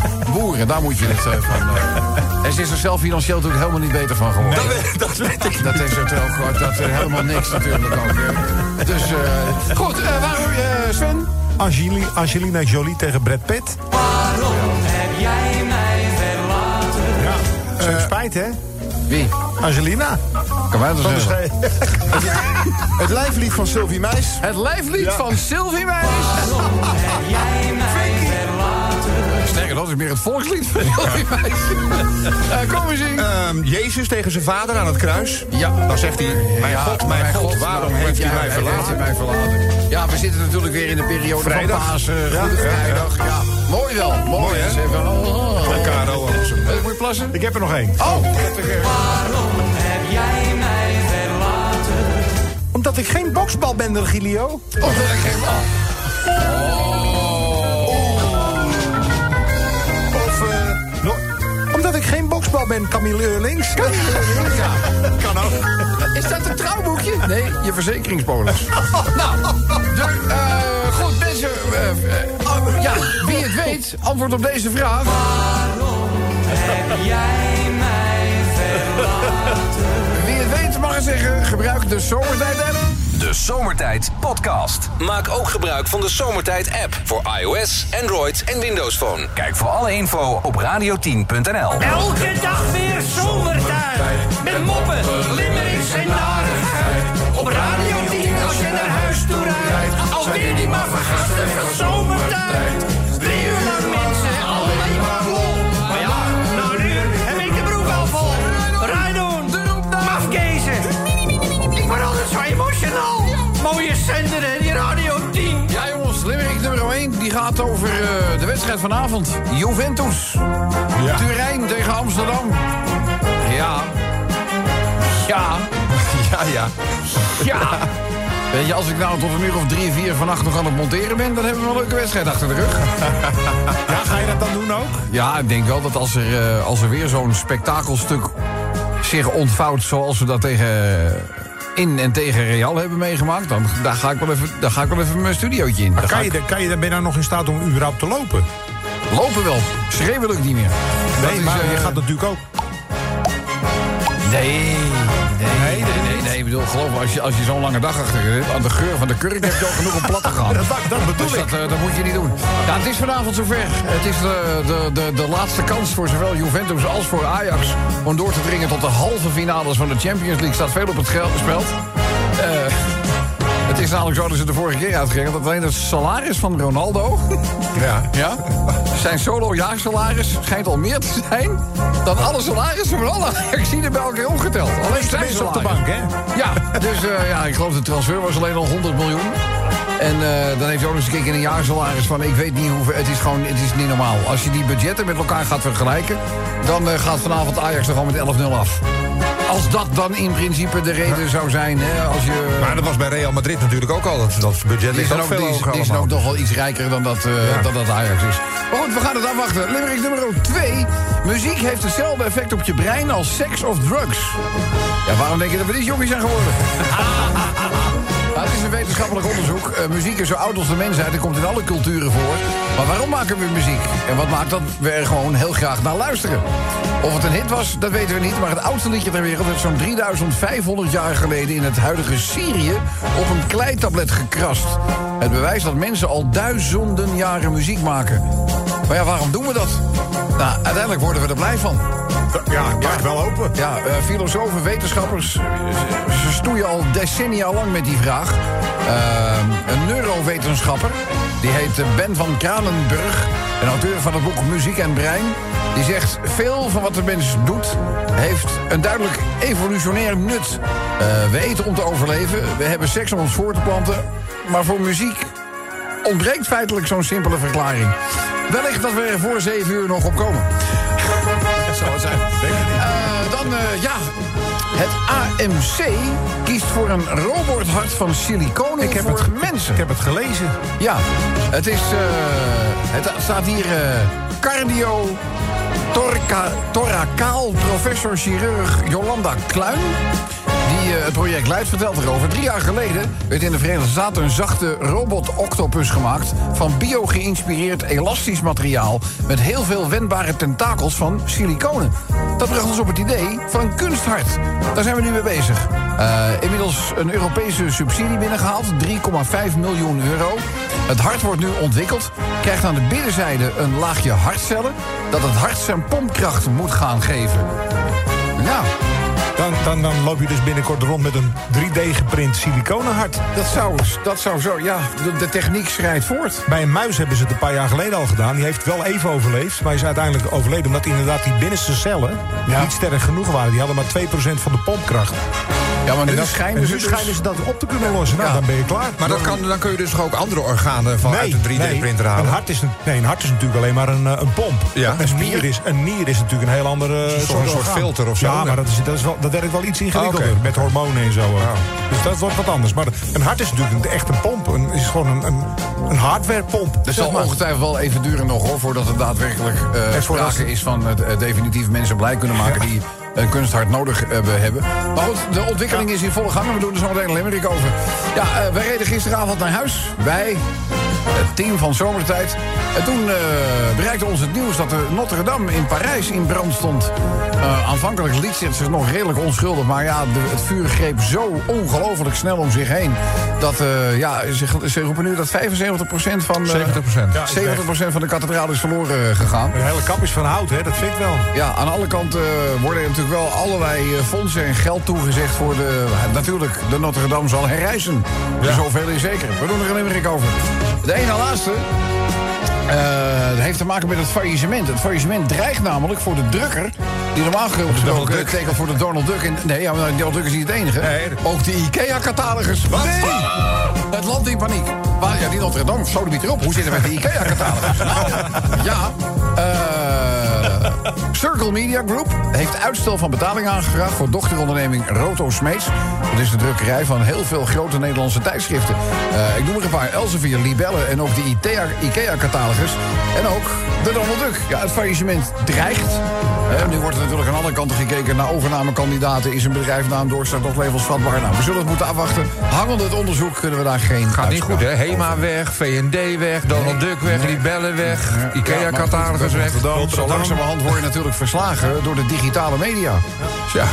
[SPEAKER 3] eh, boeren, daar moet je het eh, van... eh. En ze is er zelf financieel natuurlijk helemaal niet beter van geworden.
[SPEAKER 6] Dat weet- Dat weet ik.
[SPEAKER 3] Dat is het ook hoor. Dat is helemaal niks natuurlijk ook. hè. Dus eh, goed, eh waarom eh, Sven?
[SPEAKER 2] Angeli- Angelina Jolie tegen Brad Pitt. Waarom heb jij mij verlaten? Ja, ze heeft spijt hè?
[SPEAKER 3] Wie?
[SPEAKER 2] Angelina. Dus
[SPEAKER 3] Kan mij dat
[SPEAKER 2] Van de
[SPEAKER 3] zeggen?
[SPEAKER 2] Schee-
[SPEAKER 5] Het lijflied van Sylvie Meis.
[SPEAKER 3] Het lijflied van Sylvie Meis.
[SPEAKER 6] [LAUGHS]
[SPEAKER 3] Sterker, dat is meer het volkslied van Sylvie
[SPEAKER 6] [LAUGHS]
[SPEAKER 3] Meis. Eh, kom eens in.
[SPEAKER 6] Ehm, Jezus tegen zijn vader aan het kruis.
[SPEAKER 3] Ja.
[SPEAKER 6] Dan zegt hij, mijn God, mijn God, waarom heeft hij mij verlaten?
[SPEAKER 3] mij verlaten? Ja, we zitten natuurlijk weer in de periode
[SPEAKER 6] Vrijdag.
[SPEAKER 3] van Pasen.
[SPEAKER 6] Ja,
[SPEAKER 3] Goede
[SPEAKER 6] ja, ja.
[SPEAKER 3] vrijdag. Ja. Mooi wel. Mooi,
[SPEAKER 6] Mooi, hè?
[SPEAKER 3] Ze hebben- oh, oh, oh.
[SPEAKER 6] En KRO ook zijn
[SPEAKER 3] Eh, Moet je plassen?
[SPEAKER 2] Ik heb er nog één.
[SPEAKER 3] Oh!
[SPEAKER 2] Omdat ik geen boksbal ben, dan, Gilio.
[SPEAKER 3] Oh, dat ik geen bal.
[SPEAKER 2] Of, eh, no- omdat ik geen boksbal ben, Camille Links.
[SPEAKER 3] Ja, kan ook. Is dat een trouwboekje? Nee, je verzekeringspolis. nou, de, eh, goed, mensen. eh, eh, oh, ja, wie het weet, antwoord op deze vraag. Wie het weet mag het zeggen, gebruik de zomertijd app.
[SPEAKER 1] De Zomertijd Podcast. Maak ook gebruik van de Zomertijd app voor iOS, Android en Windows Phone. Kijk voor alle info op radio10.nl.
[SPEAKER 7] Elke dag weer zomertijd. Met moppen, limmerings en narigheid. Op Radio 10 als je naar huis toe rijdt. Alweer die maffe zomertijd. Drie uur lang mensen, alleen maar vol. Maar ja, na een uur heb ik de broek al vol. Rijdon, mafkezen. Ik word altijd zo emotional. Mooie zender en die Radio 10.
[SPEAKER 3] Ja jongens, Limerick nummer 1 die gaat over eh, de wedstrijd vanavond. Juventus. Turijn tegen Amsterdam. Ja. [LAUGHS] Ja.
[SPEAKER 6] Ja, ja.
[SPEAKER 3] Ja. Weet je, als ik nou tot een uur of drie, vier vannacht nog aan het monteren ben... dan hebben we wel een leuke wedstrijd achter de rug.
[SPEAKER 2] Ja, ga je dat dan doen ook?
[SPEAKER 3] Ja, ik denk wel dat als er, eh, als er weer zo'n spektakelstuk zich ontvouwt... zoals we dat tegen eh, in en tegen Real hebben meegemaakt... dan daar ga ik wel even, daar ga ik wel even mijn studiootje in. Dan ga
[SPEAKER 2] Kan
[SPEAKER 3] ik
[SPEAKER 2] je, kan je, ben je nou nog in staat om überhaupt te lopen?
[SPEAKER 3] lopen wel. Schreeuwen lukt niet meer. Dat
[SPEAKER 2] Nee,
[SPEAKER 3] is,
[SPEAKER 2] maar
[SPEAKER 3] eh,
[SPEAKER 2] je gaat natuurlijk ook.
[SPEAKER 3] Nee. Nee, nee, nee, nee. Ik bedoel, geloof me, als je, als je zo'n lange dag achter je hebt... aan de geur van de kurk heb je al genoeg een platte gehad.
[SPEAKER 2] [LAUGHS] Dat, dat bedoel
[SPEAKER 3] Dus
[SPEAKER 2] ik.
[SPEAKER 3] dat, eh, dat moet je niet doen. Ja, het is vanavond zover. Het is de, de, de, de laatste kans voor zowel Juventus als voor Ajax... om door te dringen tot de halve finales van de Champions League. Staat veel op het geld spel. Eh, het is namelijk zo dat ze de vorige keer uitgingen... dat alleen het salaris van
[SPEAKER 2] [LAUGHS]
[SPEAKER 3] Ronaldo...
[SPEAKER 6] Ja.
[SPEAKER 3] Ja? Zijn solo-jaarsalaris schijnt al meer te zijn... dan alle salarissen van alle Ajaxiden bij elkaar opgeteld. Alleen zijn
[SPEAKER 2] Tenminste op de
[SPEAKER 3] salaris.
[SPEAKER 2] bank, hè?
[SPEAKER 3] Ja, dus eh, ja, ik geloof de transfer was alleen al 100 miljoen. En eh, dan heeft hij ook nog eens een keer een jaarsalaris van... ik weet niet hoeveel, het is gewoon het is niet normaal. Als je die budgetten met elkaar gaat vergelijken... dan eh, gaat vanavond Ajax er gewoon met 11-0 af. Als dat dan in principe de reden zou zijn, hè, als je...
[SPEAKER 6] Maar dat was bij Real Madrid natuurlijk ook al. Dat, dat budget
[SPEAKER 3] Die
[SPEAKER 6] ligt
[SPEAKER 3] zijn
[SPEAKER 6] ook
[SPEAKER 3] ook,
[SPEAKER 6] veel
[SPEAKER 3] die is,
[SPEAKER 6] hoger
[SPEAKER 3] die zijn
[SPEAKER 6] allemaal.
[SPEAKER 3] ook nog wel iets rijker dan dat, eh,
[SPEAKER 6] Ja.
[SPEAKER 3] dan dat Ajax is. Maar goed, we gaan het afwachten. Limerick nummer 2. Muziek heeft hetzelfde effect op je brein als seks of drugs. Ja, waarom denk je dat we die jongens zijn geworden? Nou, het is een wetenschappelijk onderzoek. Eh, muziek is zo oud als de mensheid en komt in alle culturen voor. Maar waarom maken we muziek? En wat maakt dat we er gewoon heel graag naar luisteren? Of het een hit was, dat weten we niet. Maar het oudste liedje ter wereld werd zo'n 3500 jaar geleden in het huidige Syrië op een kleitablet gekrast. Het bewijs dat mensen al duizenden jaren muziek maken. Maar ja, waarom doen we dat? Nou, uiteindelijk worden we er blij van.
[SPEAKER 2] Ja, ik blijf wel open.
[SPEAKER 3] Ja, eh, filosofen, wetenschappers, eh, ze, ze stoeien al decennia lang met die vraag. Eh, een neurowetenschapper, die heet eh, Ben van Kranenburg, een auteur van het boek Muziek en Brein, die zegt: Veel van wat de mens doet, heeft een duidelijk evolutionair nut. Eh, we eten om te overleven, we hebben seks om ons voor te planten, maar voor muziek ontbreekt feitelijk zo'n simpele verklaring. Wellicht dat we er voor zeven uur nog op komen. Dat zou het zijn. Eh, dan, eh, ja. Het AMC kiest voor een robothart van siliconen
[SPEAKER 2] Ik heb
[SPEAKER 3] voor
[SPEAKER 2] het ge-
[SPEAKER 3] mensen.
[SPEAKER 2] Ik heb het gelezen.
[SPEAKER 3] Ja, het is... eh, het staat hier... eh, cardio... Torca, thoracaal professor-chirurg Jolanda Kluin... die eh, het project leidt, vertelt erover. Drie jaar geleden werd in de Verenigde Staten... een zachte robot-octopus gemaakt... van bio-geïnspireerd elastisch materiaal... met heel veel wendbare tentakels van siliconen. Dat bracht ons op het idee van een kunsthart. Daar zijn we nu mee bezig. Eh, inmiddels een Europese subsidie binnengehaald, 3,5 miljoen euro. Het hart wordt nu ontwikkeld, krijgt aan de binnenzijde een laagje hartcellen... dat het hart zijn pompkracht moet gaan geven. Nou,
[SPEAKER 2] Dan, dan, dan loop je dus binnenkort rond met een 3D-geprint siliconenhart.
[SPEAKER 3] dat zou, dat zou zo... Ja, de, de techniek schrijdt voort.
[SPEAKER 2] Bij een muis hebben ze het een paar jaar geleden al gedaan. Die heeft wel even overleefd, maar is uiteindelijk overleden... omdat inderdaad die binnenste cellen
[SPEAKER 3] Ja.
[SPEAKER 2] niet sterk genoeg waren. Die hadden maar 2% van de pompkracht.
[SPEAKER 3] Ja, maar nu
[SPEAKER 2] En, dat,
[SPEAKER 3] schijnen
[SPEAKER 2] en
[SPEAKER 3] ze
[SPEAKER 2] nu
[SPEAKER 3] dus-
[SPEAKER 2] schijnen ze dat op te kunnen lossen. Nou,
[SPEAKER 3] Ja.
[SPEAKER 2] dan ben je klaar.
[SPEAKER 6] Maar dat kan, dan kun je dus toch ook andere organen vanuit een 3D-printer
[SPEAKER 2] nee, Een
[SPEAKER 6] halen.
[SPEAKER 2] hart, is een, nee, een hart is natuurlijk alleen maar een, eh, een pomp.
[SPEAKER 6] Ja.
[SPEAKER 2] Een, nier is, een nier is natuurlijk een heel andere eh,
[SPEAKER 6] Toch
[SPEAKER 2] soort
[SPEAKER 6] een soort
[SPEAKER 2] orgaan.
[SPEAKER 6] filter of zo,
[SPEAKER 2] Ja,
[SPEAKER 6] hè?
[SPEAKER 2] maar dat, is, dat, is wel, dat werkt wel iets ingewikkelder.
[SPEAKER 6] Oké. Ah.
[SPEAKER 2] Met hormonen en zo. ook. Dus dat wordt wat anders. Maar een hart is natuurlijk een- echt een pomp. Een, is gewoon een, een, een hardwarepomp.
[SPEAKER 3] Het
[SPEAKER 2] zeg
[SPEAKER 3] zal
[SPEAKER 2] maar.
[SPEAKER 3] ongetwijfeld wel even duren nog hoor, voordat er daadwerkelijk eh,
[SPEAKER 2] En voordat
[SPEAKER 3] sprake
[SPEAKER 2] ze-
[SPEAKER 3] is van het eh, definitief mensen blij kunnen maken die een kunsthart nodig hebben- hebben. Maar goed, de ontwikkeling is in volle gang en we doen er zo meteen een limerick over. Ja, eh, wij reden gisteravond naar huis. Wij, het team van Zomertijd. En toen eh, bereikte ons het nieuws dat de Notre Dame in Parijs in brand stond. Eh, aanvankelijk liet ze het zich nog redelijk onschuldig, maar ja, de- het vuur greep zo ongelooflijk snel om zich heen. Dat, eh, ja, ze, ze roepen nu dat 75% van... eh,
[SPEAKER 6] 70%.
[SPEAKER 2] Ja,
[SPEAKER 3] 70% van de kathedraal is verloren eh, gegaan.
[SPEAKER 2] De hele kap is van hout, hè? dat vind ik wel.
[SPEAKER 3] Ja, aan alle kanten eh, worden er natuurlijk wel allerlei eh, fondsen en geld toegezegd voor de. eh, Natuurlijk, de Notre Dame zal herrijzen. Zoveel is zeker. We doen er een limerick over. De ene laatste. eh, heeft te maken met het faillissement. Het faillissement dreigt namelijk voor de drukker. Die normaal
[SPEAKER 6] Donald
[SPEAKER 3] gesproken
[SPEAKER 6] Duck.
[SPEAKER 3] tekent voor de Donald Duck. En, nee, ja, maar Donald Duck is niet het enige.
[SPEAKER 6] Nee.
[SPEAKER 3] Ook de IKEA-catalogus. Wat? Het land in paniek. Waar, ja, die Notre Dame, sodemiet erop. Hoe zit het met de IKEA-catalogus? Nou, ja. eh, Circle Media Group heeft uitstel van betaling aangevraagd... voor dochteronderneming Roto Smeets. Dat is de drukkerij van heel veel grote Nederlandse tijdschriften. Eh, ik noem er een paar. Elsevier, Libelle en ook de IKEA IKEA-catalogus. En ook de Donald Duck. Ja, het faillissement dreigt. Eh, nu wordt er natuurlijk aan alle kanten gekeken naar overnamekandidaten. Is een bedrijfnaam doorstart of levensvatbaar? Nou, we zullen het moeten afwachten. Hangende het onderzoek kunnen we daar geen.
[SPEAKER 6] Gaat niet goed,
[SPEAKER 3] uitspraak
[SPEAKER 6] hè?
[SPEAKER 3] over.
[SPEAKER 6] HEMA weg, VND weg, Donald Duck weg, Libelle weg,
[SPEAKER 3] Ja, maar
[SPEAKER 6] IKEA-catalogus
[SPEAKER 3] goed,
[SPEAKER 6] weg.
[SPEAKER 3] we- we- Zo langzamerhand word je natuurlijk verslagen door de digitale media.
[SPEAKER 6] Ja.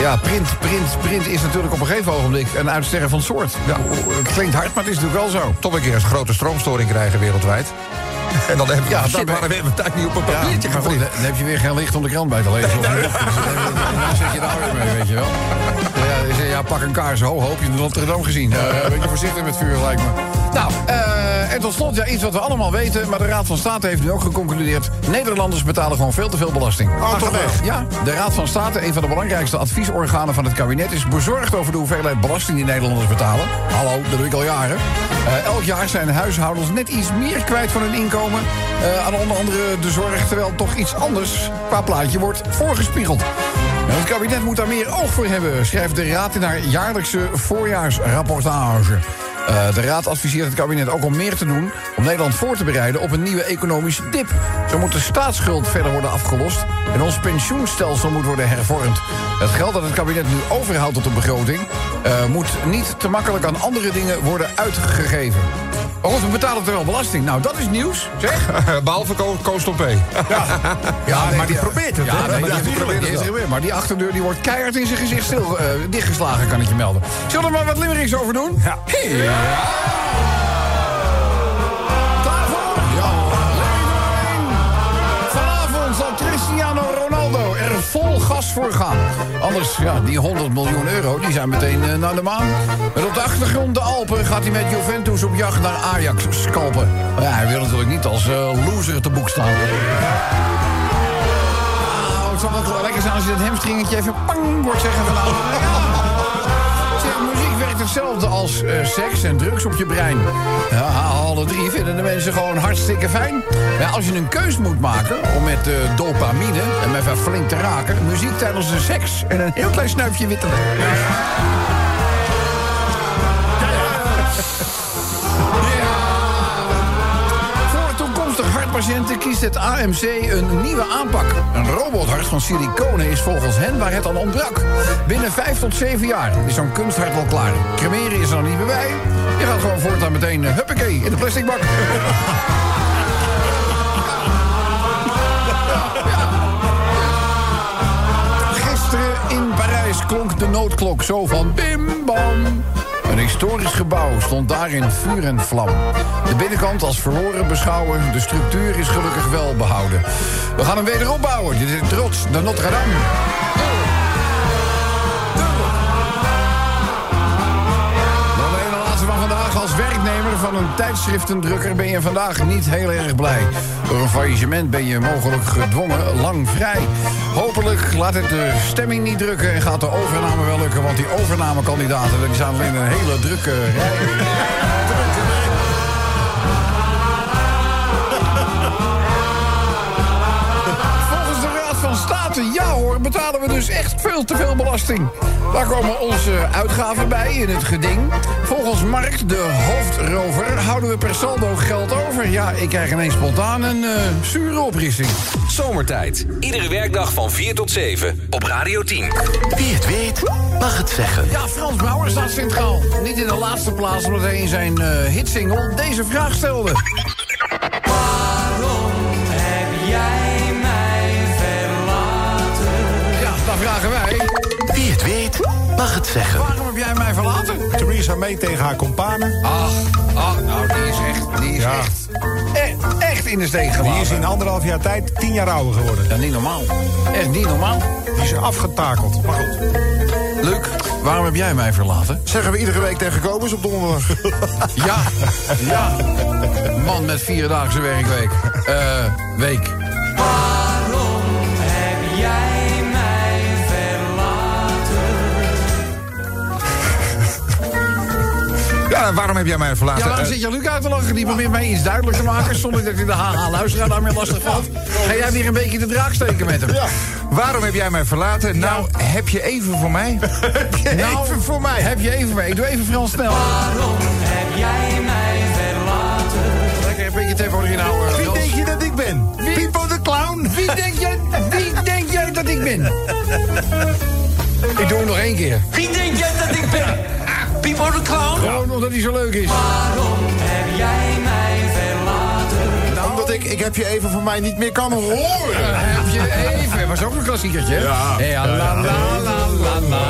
[SPEAKER 3] Ja, print, print, print is natuurlijk op een gegeven ogenblik een uitsterven van soort. Ja, het klinkt hard, maar het is natuurlijk wel zo.
[SPEAKER 6] Tot een keer een grote stroomstoring krijgen wereldwijd. En dan hebben we
[SPEAKER 3] Ja,
[SPEAKER 6] ja,
[SPEAKER 3] dat
[SPEAKER 6] shit,
[SPEAKER 3] ben-
[SPEAKER 6] waarom hebben we tijd niet op een
[SPEAKER 3] Ja,
[SPEAKER 6] papiertje
[SPEAKER 3] maar goed,
[SPEAKER 6] geprint?
[SPEAKER 3] dan heb je weer geen licht om de krant bij te lezen. Of niet? Dus dan- dan zit je daar weer mee, weet je wel. Ja, ik zeg, ja, pak een kaars. Ho, hoop je de Notre Dame gezien. Eh, een beetje voorzichtig met vuur, lijkt me. Nou, eh, en tot slot, ja, iets wat we allemaal weten... maar de Raad van State heeft nu ook geconcludeerd... Nederlanders betalen gewoon veel te veel belasting.
[SPEAKER 2] Oh, toch echt?
[SPEAKER 3] Ja, de Raad van State, een van de belangrijkste adviesorganen van het kabinet... is bezorgd over de hoeveelheid belasting die Nederlanders betalen. Hallo, dat doe ik al jaren. Eh, elk jaar zijn huishoudens net iets meer kwijt van hun inkomen... eh, aan onder andere de zorg, terwijl toch iets anders qua plaatje wordt voorgespiegeld. Eh, Het kabinet moet daar meer oog voor hebben, schrijft de Raad in haar jaarlijkse voorjaarsrapportage. Eh, de Raad adviseert het kabinet ook om meer te doen om Nederland voor te bereiden op een nieuwe economische dip. Zo moet de staatsschuld verder worden afgelost en ons pensioenstelsel moet worden hervormd. Het geld dat het kabinet nu overhoudt op de begroting eh, moet niet te makkelijk aan andere dingen worden uitgegeven. Oh, we betalen toch wel belasting? Nou, dat is nieuws, zeg.
[SPEAKER 6] [LAUGHS] Behalve Ko- Koos P.
[SPEAKER 3] Ja,
[SPEAKER 2] maar die probeert het,
[SPEAKER 3] Ja,
[SPEAKER 2] hè?
[SPEAKER 3] nee,
[SPEAKER 2] Maar
[SPEAKER 3] die,
[SPEAKER 2] die
[SPEAKER 3] die
[SPEAKER 2] probeert
[SPEAKER 3] probeert
[SPEAKER 2] het
[SPEAKER 3] het
[SPEAKER 2] wel.
[SPEAKER 3] weer. Maar die achterdeur die wordt keihard in zijn gezicht stil eh, dichtgeslagen, kan ik je melden. Zullen we er maar wat limericks over doen? Ja. Klaar voor? Levering! Vanavond zal Cristiano Ronaldo er vol gas voor gaan. Anders, ja, die 100 miljoen euro, die zijn meteen eh, naar de maan. Met op de achtergrond de Alpen gaat hij met Juventus op jacht naar Ajax scalpen. Maar ja, hij wil natuurlijk niet als eh, loser te boek staan. Nou, het zou wel lekker zijn als je dat hemstringetje even pang wordt zeggen van... nou, ja. Zeg, muziek werkt hetzelfde als eh, seks en drugs op je brein. Ja, alle drie vinden de mensen gewoon hartstikke fijn. Ja, als je een keus moet maken om met eh, dopamine, en even flink te raken... muziek tijdens de seks en een heel klein snuifje witte wijn. Voor toekomstig hartpatiënten kiest het AMC een nieuwe aanpak. Een robothart van siliconen is volgens hen waar het aan ontbrak. Binnen vijf tot zeven jaar is zo'n kunsthart wel klaar. Cremeren is er nog niet meer bij. Je gaat gewoon voortaan meteen, eh, huppakee, in de plastic bak. Gisteren in Parijs klonk de noodklok zo van bim bam. Een historisch gebouw stond daar in vuur en vlam. De binnenkant als verloren beschouwen, de structuur is gelukkig wel behouden. We gaan hem wederopbouwen. dit is trots, de Notre Dame. Dan alleen de laatste van vandaag. Als werknemer van een tijdschriftendrukker ben je vandaag niet heel erg blij. Door een faillissement ben je mogelijk gedwongen lang vrij. Hopelijk laat het de stemming niet drukken en gaat de overname wel lukken. Want die overnamekandidaten die staan in een hele drukke rij. Volgens de Raad van State, ja hoor, betalen we dus echt veel te veel belasting. Daar komen onze uitgaven bij in het geding. Volgens Mark, de hoofdrover, houden we per saldo geld over. Ja, ik krijg ineens spontaan een eh, zure oprissing.
[SPEAKER 1] Zomertijd. Iedere werkdag van 4 tot 7 op Radio 10.
[SPEAKER 8] Wie het weet, mag het zeggen.
[SPEAKER 3] Ja, Frans Brouwer staat centraal. Niet in de laatste plaats, omdat hij in zijn eh, hitsingle deze vraag stelde. Ja, daar vragen wij.
[SPEAKER 8] Wie het weet, mag het zeggen.
[SPEAKER 3] Waarom heb jij mij verlaten?
[SPEAKER 2] Theresa mee tegen haar companen.
[SPEAKER 3] Ach, ach, nou, die is echt, die is
[SPEAKER 2] Ja.
[SPEAKER 3] echt, e- echt in de steek
[SPEAKER 2] Die is
[SPEAKER 3] gelaten.
[SPEAKER 2] in anderhalf jaar tijd tien jaar ouder geworden.
[SPEAKER 3] Ja, niet normaal. Echt niet normaal.
[SPEAKER 2] Die is afgetakeld. Maar goed.
[SPEAKER 3] Luc, waarom heb jij mij verlaten?
[SPEAKER 5] Zeggen we iedere week tegen Kobus op donderdag.
[SPEAKER 3] Ja, ja. Man met vierdaagse werkweek. Eh, week.
[SPEAKER 6] Ja, waarom heb jij mij verlaten?
[SPEAKER 3] Ja, waarom
[SPEAKER 6] Eh,
[SPEAKER 3] zit je Luc uit te lachen? Die probeert mij iets duidelijk te maken... zonder dat hij de HH-luisteraar daarmee lastig valt. Ga jij weer een beetje de draak steken met hem?
[SPEAKER 6] waarom heb jij mij verlaten? Nou, heb je even voor mij?
[SPEAKER 3] Nou, even voor mij. Ah. Heb je even mee? Ik doe even Frans snel. Waarom heb jij mij verlaten? Lekker een beetje tempo erin houden. Wie denk je dat ik ben? Pipo de clown? Wie denk, jij, wie denk jij dat ik ben? Ik doe hem nog één keer.
[SPEAKER 7] Wie denk jij dat ik ben? Pipo de Clown?
[SPEAKER 3] Gewoon omdat hij zo leuk is.
[SPEAKER 5] Nou, Omdat ik, ik heb je even van mij niet meer kan horen.
[SPEAKER 3] Heb je even. Was ook een klassiekertje. hè?
[SPEAKER 4] Ja.
[SPEAKER 3] Ja, la la la la la.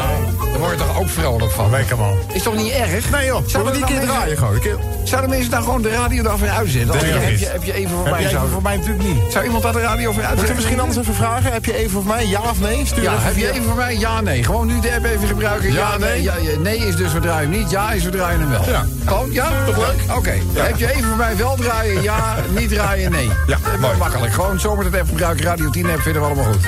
[SPEAKER 3] Daar word je toch ook vrolijk van? nou
[SPEAKER 2] Lekker man.
[SPEAKER 3] Is toch niet erg?
[SPEAKER 5] Nee joh, zullen we die keer draaien gewoon? Een keer-
[SPEAKER 3] Zouden mensen daar gewoon de radio daar van uitzetten? Als je-
[SPEAKER 4] Denk ik
[SPEAKER 3] Heb
[SPEAKER 4] niet.
[SPEAKER 3] je, heb je even voor
[SPEAKER 2] Heb
[SPEAKER 3] mij
[SPEAKER 2] jij
[SPEAKER 3] zou
[SPEAKER 2] voor mij natuurlijk niet.
[SPEAKER 3] Zou iemand daar de radio voor
[SPEAKER 5] Moeten we
[SPEAKER 3] uitzetten?
[SPEAKER 5] misschien anders even vragen? Heb je even voor mij? Ja of nee? Stuur
[SPEAKER 3] Ja,
[SPEAKER 5] even
[SPEAKER 3] heb je
[SPEAKER 5] via-
[SPEAKER 3] even voor mij? Ja, nee. Gewoon nu de app even gebruiken. Ja, nee. Ja, ja, nee is dus we draaien hem niet. Ja is we draaien hem wel. Ja. Gewoon? Ja? Toch leuk? Oké. Heb je even voor mij wel draaien? Ja. Niet draaien? Nee.
[SPEAKER 6] Ja,
[SPEAKER 3] Eh,
[SPEAKER 6] mooi.
[SPEAKER 3] Makkelijk. Gewoon zomer de app gebruiken. Radio 10 app vinden we allemaal goed.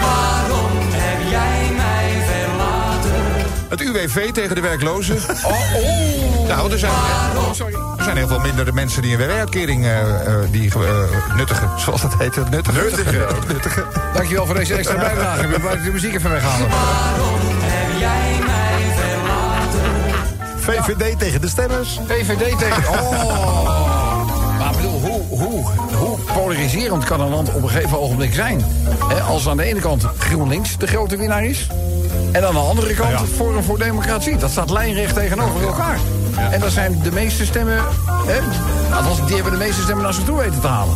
[SPEAKER 6] Het UWV tegen de
[SPEAKER 3] [LAUGHS]
[SPEAKER 6] werklozen. Oh, oh. Nou, er zijn, oh, sorry. er zijn heel veel minder mensen die een werkuitkering eh, eh, die, eh, nuttigen. Zoals dat heet, het nuttigen. [LAUGHS] Nuttigen ook. Nuttigen.
[SPEAKER 3] Dankjewel voor deze extra bijdrage. We maken de muziek even weghalen.
[SPEAKER 5] VVD tegen de stemmers.
[SPEAKER 3] VVD tegen... Oh! Maar ik bedoel, hoe, hoe, hoe polariserend kan een land op een gegeven ogenblik zijn? Hè, als aan de ene kant GroenLinks de grote winnaar is... en aan de andere kant Forum voor Democratie. Dat staat lijnrecht tegenover elkaar. En dat zijn de meeste stemmen... Hè, althans, die hebben de meeste stemmen naar ze toe weten te halen.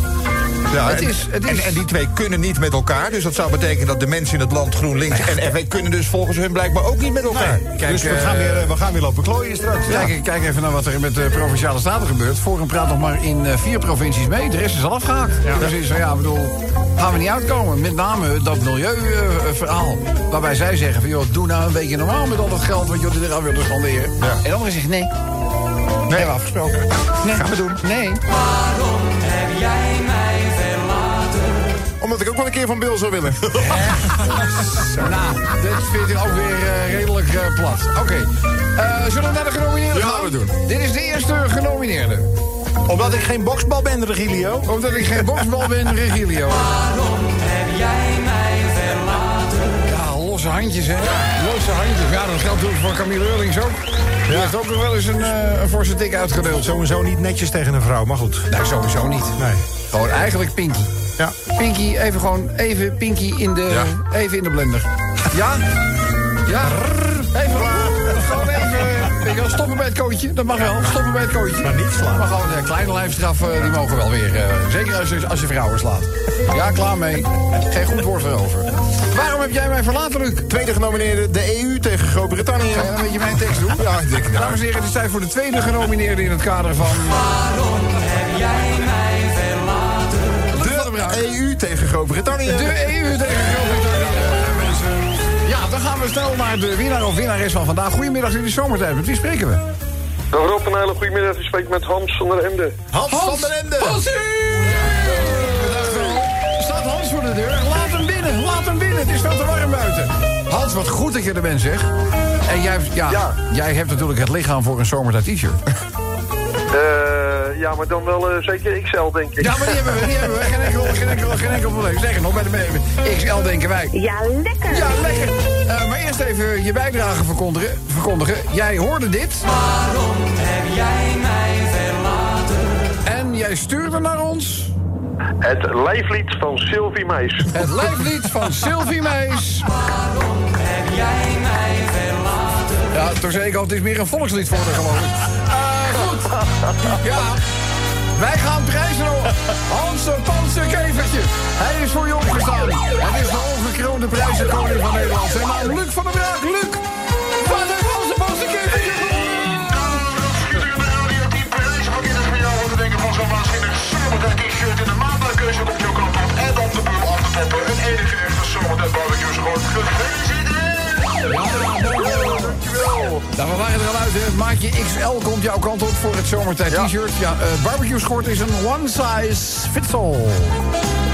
[SPEAKER 6] Ja,
[SPEAKER 3] Het
[SPEAKER 6] en-
[SPEAKER 3] is- het is-
[SPEAKER 6] En, en die twee kunnen niet met elkaar. Dus dat zou betekenen dat de mensen in het land GroenLinks en FW kunnen dus volgens hun blijkbaar ook niet met elkaar.
[SPEAKER 3] Kijk,
[SPEAKER 5] Dus we
[SPEAKER 3] eh,
[SPEAKER 5] gaan weer, eh, we gaan weer lopen klooien straks.
[SPEAKER 3] Kijk, kijk even naar wat er met de provinciale staten gebeurt. Forum praat nog maar in eh, vier provincies mee. De rest is al afgehaakt. Dus is, ja, ik bedoel, gaan we niet uitkomen. Met name dat milieuverhaal. waarbij zij zeggen van, joh, doe nou een beetje normaal met al dat geld wat jullie eraan willen spanderen. En anderen zeggen, nee. Nee, hebben we afgesproken. Nee. Gaan we doen. Nee.
[SPEAKER 5] Omdat ik ook wel een keer van Bill zou
[SPEAKER 6] [LAUGHS]
[SPEAKER 5] willen.
[SPEAKER 3] Nou, dit vind ik ook weer eh, redelijk eh, plat. Oké. Eh, zullen we naar de genomineerden
[SPEAKER 5] Ja,
[SPEAKER 3] gaan?
[SPEAKER 5] laten we doen.
[SPEAKER 3] Dit is de eerste genomineerde.
[SPEAKER 5] Omdat ik geen boksbal ben, Regilio.
[SPEAKER 3] Omdat ik geen boksbal ben, Regilio. Waarom heb jij mij verlaten? Ja, losse handjes, hè? Losse handjes. Ja, dat geldt natuurlijk voor Camille Eurlings ook. Die heeft ook nog wel eens een, eh een forse tik uitgedeeld. Zo.
[SPEAKER 2] Sowieso niet netjes tegen een vrouw, maar goed.
[SPEAKER 3] Nee, Nou, sowieso niet.
[SPEAKER 2] Nee.
[SPEAKER 3] Gewoon eigenlijk Pinky.
[SPEAKER 2] Ja.
[SPEAKER 3] Pinky, even gewoon, even Pinky in de, even in de blender. Ja? Ja? Even, gewoon even, weet je wel, stoppen bij het kootje. Dat mag wel, stoppen bij het kootje.
[SPEAKER 2] Maar niet slaan.
[SPEAKER 3] Maar gewoon eh, kleine lijfstraffen, die mogen wel weer. eh, zeker als je, als je vrouwen slaat. Ja, klaar mee. Geen goed woord erover. Waarom heb jij mij verlaten, Luc?
[SPEAKER 5] Tweede genomineerde, de EU tegen Groot-Brittannië.
[SPEAKER 3] Ga je een beetje mijn tekst doen? Ja, ik denk Dames en heren, het is tijd voor de tweede genomineerde in het kader van...
[SPEAKER 5] De EU tegen Groot-Brittannië.
[SPEAKER 3] De
[SPEAKER 6] E
[SPEAKER 3] EU tegen Groot-Brittannië, mensen. Ja, dan gaan we snel naar de winnaar of winnares van vandaag. Goedemiddag, jullie zomertijd. Met wie spreken we?
[SPEAKER 9] Dag Rob, een hele goede middag. U spreekt met Hans van der Emde.
[SPEAKER 5] Hans, van der Ende.
[SPEAKER 3] Hansie! Staat Hans voor de deur? Laat hem binnen, laat hem binnen. Het is veel te warm buiten. Hans, wat goed dat je er bent, zeg. En jij, hebt- ja,
[SPEAKER 9] Ja.
[SPEAKER 3] jij hebt natuurlijk het lichaam voor een zomertijd t-shirt.
[SPEAKER 9] Eh, ja, maar dan wel eh, zeker XL, denk ik.
[SPEAKER 3] Ja, maar die hebben we, die hebben we. Geen enkel, geen enkel, geen enkel probleem. Zeg nog, bij de bij- XL denken wij.
[SPEAKER 10] Ja, lekker.
[SPEAKER 3] Ja, lekker. Eh, maar eerst even je bijdrage verkondigen. verkondigen. Jij hoorde dit. Waarom heb jij mij verlaten? En jij stuurde naar ons...
[SPEAKER 9] Het lijflied van Sylvie Meis.
[SPEAKER 3] Het lijflied van Sylvie Meis. Waarom heb jij mij verlaten? Ja, toen zei ik al, het is meer een volkslied voor haar, geloof ik. Eh, goed. Ja. Wij gaan prijzen op. Hans de Panzerkevertje. Hij is voor je opgestaan. Het is de ongekroonde prijzenkoning van Nederland. En nou, Luc van der Braak, Luc. Wat heeft Hans de Panzerkevertje gewonnen? dus Nou, we waren er al uit, hè. Maatje XL komt jouw kant op voor het zomertijd t-shirt. Ja, eh barbecue schort is een one size fits all.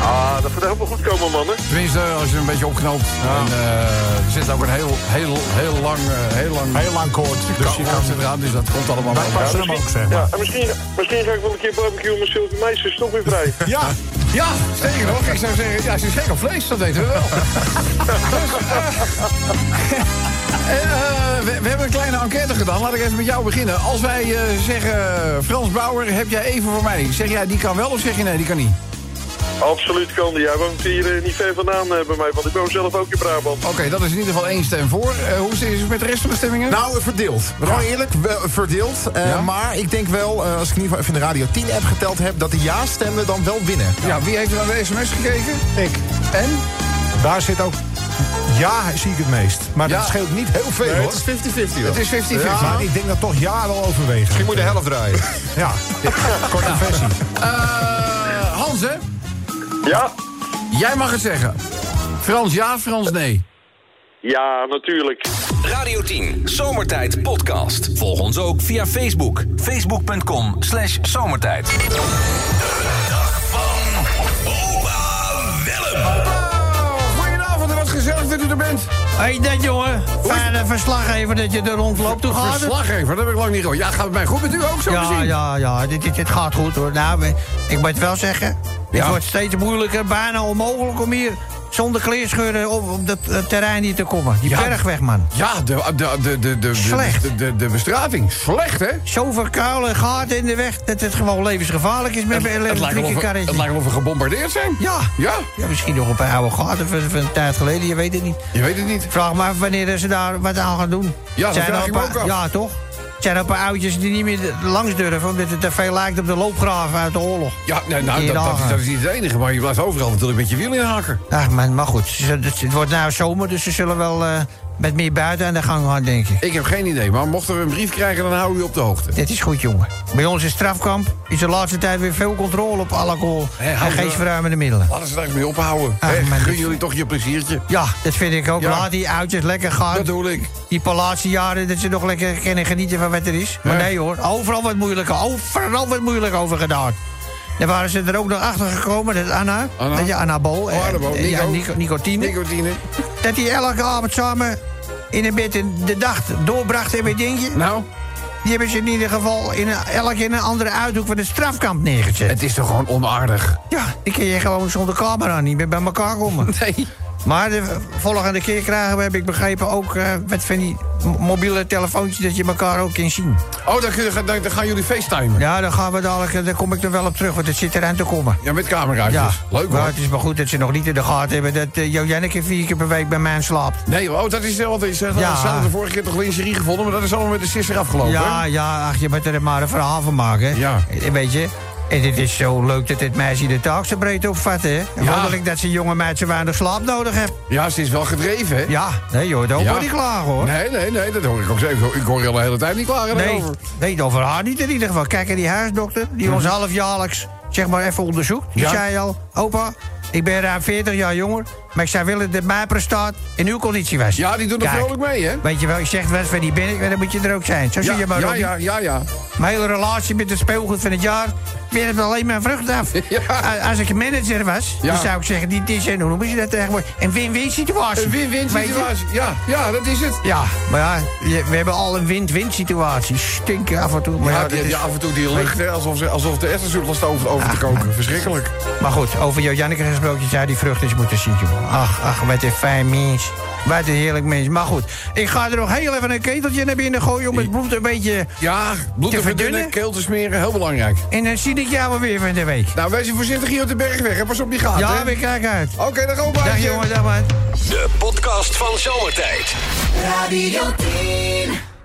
[SPEAKER 9] Ah, dat gaat helemaal goed komen, mannen.
[SPEAKER 3] Tenminste, als je hem een beetje opknoopt. En, eh, er zit ook een heel, heel, heel lang... eh, heel lang
[SPEAKER 2] Heel lang koord. Dus je kan
[SPEAKER 3] ze eraan, dus dat komt allemaal wel.
[SPEAKER 2] passen hem ook, zeg maar.
[SPEAKER 9] Ja, en misschien, misschien ga ik wel een keer barbecue met Sylvie Meis. Ze is toch weer
[SPEAKER 3] [LAUGHS]
[SPEAKER 9] vrij.
[SPEAKER 2] Ja,
[SPEAKER 3] Ja, zeker nog. Ik zou zeggen, ja, ze is gek op vlees, dat weten we [LAUGHS] wel. Dus, [LAUGHS] eh, eh, we, we hebben een kleine enquête gedaan. Laat ik even met jou beginnen. Als wij eh, zeggen, Frans Bauer, heb jij even voor mij? Zeg jij, die kan wel of zeg je nee, die kan niet?
[SPEAKER 9] Absoluut kan die. Hij woont hier eh, niet ver vandaan eh, bij mij, want ik woon zelf ook in Brabant.
[SPEAKER 3] Oké, dat is in ieder geval één stem voor. Eh, hoe is het met de rest van de stemmingen?
[SPEAKER 5] Nou, verdeeld. Gewoon eerlijk, wel verdeeld. Eh,
[SPEAKER 3] Ja?
[SPEAKER 5] Maar ik denk wel, eh, als ik in ieder geval even in de Radio 10-app geteld heb... dat de ja-stemmen dan wel winnen.
[SPEAKER 3] ja, wie heeft er naar de sms gekeken?
[SPEAKER 2] ik.
[SPEAKER 3] En?
[SPEAKER 2] Daar zit ook... Ja, zie ik het meest. Maar
[SPEAKER 3] Ja.
[SPEAKER 2] dat scheelt niet heel veel,
[SPEAKER 5] Nee,
[SPEAKER 2] hoor.
[SPEAKER 5] het is 50-50 wel.
[SPEAKER 3] Het is 50-50.
[SPEAKER 2] Ja, maar ik denk dat toch ja wel overwegen.
[SPEAKER 6] Je moet de helft draaien.
[SPEAKER 2] Ja, korte versie.
[SPEAKER 3] Eh, Hans, hè?
[SPEAKER 9] Ja?
[SPEAKER 3] Jij mag het zeggen. Frans ja, Frans nee.
[SPEAKER 9] Ja, natuurlijk.
[SPEAKER 1] Radio 10, Zomertijd Podcast. Volg ons ook via Facebook. Facebook.com slash zomertijd.
[SPEAKER 3] Oh, goedenavond en wat gezellig dat u u er bent.
[SPEAKER 7] hey, dat jongen. Fijne verslaggever dat je er rondloopt.
[SPEAKER 2] Ah,
[SPEAKER 7] Hoe gaat het?
[SPEAKER 3] Verslaggever, dat heb ik lang niet gehoord. Ja, gaat het mij goed met u ook zo
[SPEAKER 7] Ah, Ja,
[SPEAKER 3] gezien?
[SPEAKER 7] ja, ja. Dit, dit, dit gaat goed hoor. Nou, we- ik moet het wel zeggen.
[SPEAKER 3] Ja.
[SPEAKER 7] Het wordt steeds moeilijker, bijna onmogelijk om hier zonder kleerscheuren op, op dat eh, terrein hier te komen. Die
[SPEAKER 3] Ja.
[SPEAKER 7] bergweg, man.
[SPEAKER 3] Ja, de, de, de, de, de,
[SPEAKER 7] Slecht.
[SPEAKER 3] De, de, de bestrating. Slecht, hè?
[SPEAKER 7] Zo verkuilen, gaten in de weg, dat het gewoon levensgevaarlijk is met een
[SPEAKER 3] het, lijkt
[SPEAKER 7] elektrieke
[SPEAKER 3] alsof we,
[SPEAKER 7] karretje.
[SPEAKER 3] het lijkt alsof we gebombardeerd zijn.
[SPEAKER 7] Ja.
[SPEAKER 3] Ja,
[SPEAKER 7] Ja, misschien nog op een oude gaten van, van een tijd geleden, je weet het niet.
[SPEAKER 3] je weet het niet.
[SPEAKER 7] Vraag maar wanneer ze daar wat aan gaan doen.
[SPEAKER 3] Ja, dat
[SPEAKER 7] er
[SPEAKER 3] vraag
[SPEAKER 7] een
[SPEAKER 3] ik me
[SPEAKER 7] paar-
[SPEAKER 3] ook af.
[SPEAKER 7] Ja, toch? Zijn er een paar oudjes die niet meer langs durven... omdat het te veel lijkt op de loopgraven uit de oorlog.
[SPEAKER 3] Ja, nou, nou,
[SPEAKER 7] Die
[SPEAKER 3] dat, dat, is,
[SPEAKER 7] dagen.
[SPEAKER 3] dat is niet het enige, maar je blijft overal natuurlijk met je wiel inhaken.
[SPEAKER 7] Ach, maar, maar goed, ze- het, het wordt nou zomer, dus ze zullen wel eh, met meer buiten aan de gang gaan, denk ik.
[SPEAKER 3] Ik heb geen idee, maar mochten we een brief krijgen, dan houden we je op de hoogte.
[SPEAKER 7] Dit is goed, jongen. Bij ons in strafkamp is de laatste tijd weer veel controle op alcohol
[SPEAKER 3] Hé,
[SPEAKER 7] en
[SPEAKER 3] hou ze-
[SPEAKER 7] geestverruimende middelen.
[SPEAKER 3] Laten ze daar eens mee ophouden.
[SPEAKER 7] Ah,
[SPEAKER 3] Hè,
[SPEAKER 7] maar
[SPEAKER 3] gun
[SPEAKER 7] dit-
[SPEAKER 3] jullie toch je pleziertje?
[SPEAKER 7] Ja, dat vind ik ook.
[SPEAKER 3] Ja.
[SPEAKER 7] Laat die uitjes lekker gaan.
[SPEAKER 3] Dat bedoel ik.
[SPEAKER 7] Die palatiejaren, dat ze nog lekker kunnen genieten van wat er is. Maar
[SPEAKER 3] Ja.
[SPEAKER 7] nee hoor, overal wat moeilijk, overal wat moeilijk over gedaan. Daar waren ze er ook nog achter gekomen, dat Anna,
[SPEAKER 3] Anna?
[SPEAKER 7] dat je Annabol,
[SPEAKER 3] Oh, Annabel,
[SPEAKER 7] eh, ja,
[SPEAKER 3] Nico.
[SPEAKER 7] Nico, nicotine,
[SPEAKER 3] Nicotine.
[SPEAKER 7] dat die elke avond samen in een bed in de dag doorbrachten. En weet denk je,
[SPEAKER 3] Nou,
[SPEAKER 7] die hebben ze in ieder geval in een, elk in een andere uithoek van het strafkamp neergezet.
[SPEAKER 3] het is toch gewoon onaardig?
[SPEAKER 7] Ja, die kun je gewoon zonder camera niet meer bij elkaar komen.
[SPEAKER 3] Nee.
[SPEAKER 7] Maar de volgende keer krijgen we, heb ik begrepen, ook eh, wat van die m- mobiele telefoontjes dat je elkaar ook kunt zien.
[SPEAKER 3] Oh, dan, kun je, dan, dan gaan jullie facetimen.
[SPEAKER 7] Ja, dan gaan we dadelijk, eh, daar kom ik er wel op terug, want het zit eraan te komen.
[SPEAKER 3] Ja, met camera's.
[SPEAKER 7] Ja,
[SPEAKER 3] Leuk
[SPEAKER 7] maar
[SPEAKER 3] hoor.
[SPEAKER 7] het is maar goed dat ze nog niet in de gaten hebben dat eh, Jo Janneke vier keer per week bij mij slaapt.
[SPEAKER 3] Nee, oh, dat is hetzelfde. Ze
[SPEAKER 7] Ja.
[SPEAKER 3] hadden de vorige keer toch lingerie gevonden, maar dat is allemaal met de sisser afgelopen.
[SPEAKER 7] Ja, ja, ach, je moet er maar een verhaal van maken.
[SPEAKER 3] Ja.
[SPEAKER 7] Eh, Weet je? En het is zo leuk dat dit meisje de taak zo breed opvat, hè?
[SPEAKER 3] Ja.
[SPEAKER 7] Wonderlijk dat ze jonge meid zo weinig slaap nodig heeft.
[SPEAKER 3] Ja, ze is wel gedreven, hè?
[SPEAKER 7] Ja, nee joh, daar
[SPEAKER 3] Ja.
[SPEAKER 7] hoor ik klaar hoor.
[SPEAKER 3] Nee, nee, nee, dat hoor ik ook zeker. Ik hoor je al de hele tijd niet klagen
[SPEAKER 7] Nee,
[SPEAKER 3] daarover.
[SPEAKER 7] nee, over haar niet in ieder geval. Kijk, en die huisdokter, die ons halfjaarlijks zeg maar even onderzoekt. Die
[SPEAKER 3] Mhm. Ja.
[SPEAKER 7] zei al, opa, ik ben ruim 40 jaar jonger... maar ik zou willen dat mijn prestaat in uw conditie was.
[SPEAKER 3] Ja, die doen er
[SPEAKER 7] Kijk,
[SPEAKER 3] vrolijk mee, hè?
[SPEAKER 7] Weet je wel, ik zeg wel eens van die ben ik, maar dan moet je er ook zijn. Zo zie je maar,
[SPEAKER 3] ja,
[SPEAKER 7] Robbie.
[SPEAKER 3] ja, ja, ja.
[SPEAKER 7] Mijn hele relatie met het speelgoed van het jaar... weer het alleen maar vrucht af.
[SPEAKER 3] [LAUGHS] Ja.
[SPEAKER 7] A- Als ik een manager was,
[SPEAKER 3] Ja.
[SPEAKER 7] dan zou ik zeggen... dit is een, hoe noemen ze dat tegenwoordig? Een win-win situatie.
[SPEAKER 3] Een win-win
[SPEAKER 7] Weet je?
[SPEAKER 3] situatie. Ja, ja, dat is het.
[SPEAKER 7] Ja, maar ja, je- we hebben al een win-win situatie. Stinken af en toe. Maar,
[SPEAKER 3] Ja,
[SPEAKER 7] ja,
[SPEAKER 3] die-
[SPEAKER 7] dat is- Ah.
[SPEAKER 3] die af en toe die lucht, hè, alsof, ze, alsof de essensoep was over, over te koken. Verschrikkelijk.
[SPEAKER 7] maar goed, over jou Janneke gesproken, je zou die vrucht eens moeten zien, jongen. Ach, ach, wat een fijn mens. Wat een heerlijk mens. Maar goed, ik ga er nog heel even een keteltje naar binnen gooien... om het bloed een beetje...
[SPEAKER 3] Ja, bloed te verdunnen,
[SPEAKER 7] Te verdunnen?
[SPEAKER 3] keel te smeren, heel belangrijk.
[SPEAKER 7] En dan zie ik jou wel weer van de week.
[SPEAKER 3] Nou, wees je voorzichtig hier op de bergweg, hè? Pas op die gaat,
[SPEAKER 7] Ja,
[SPEAKER 3] hè?
[SPEAKER 7] weer kijk uit.
[SPEAKER 3] Oké, dan gaan we
[SPEAKER 7] Dag
[SPEAKER 3] bij
[SPEAKER 7] jongen, dag man.
[SPEAKER 1] De podcast van Zomertijd.
[SPEAKER 10] Radio 10.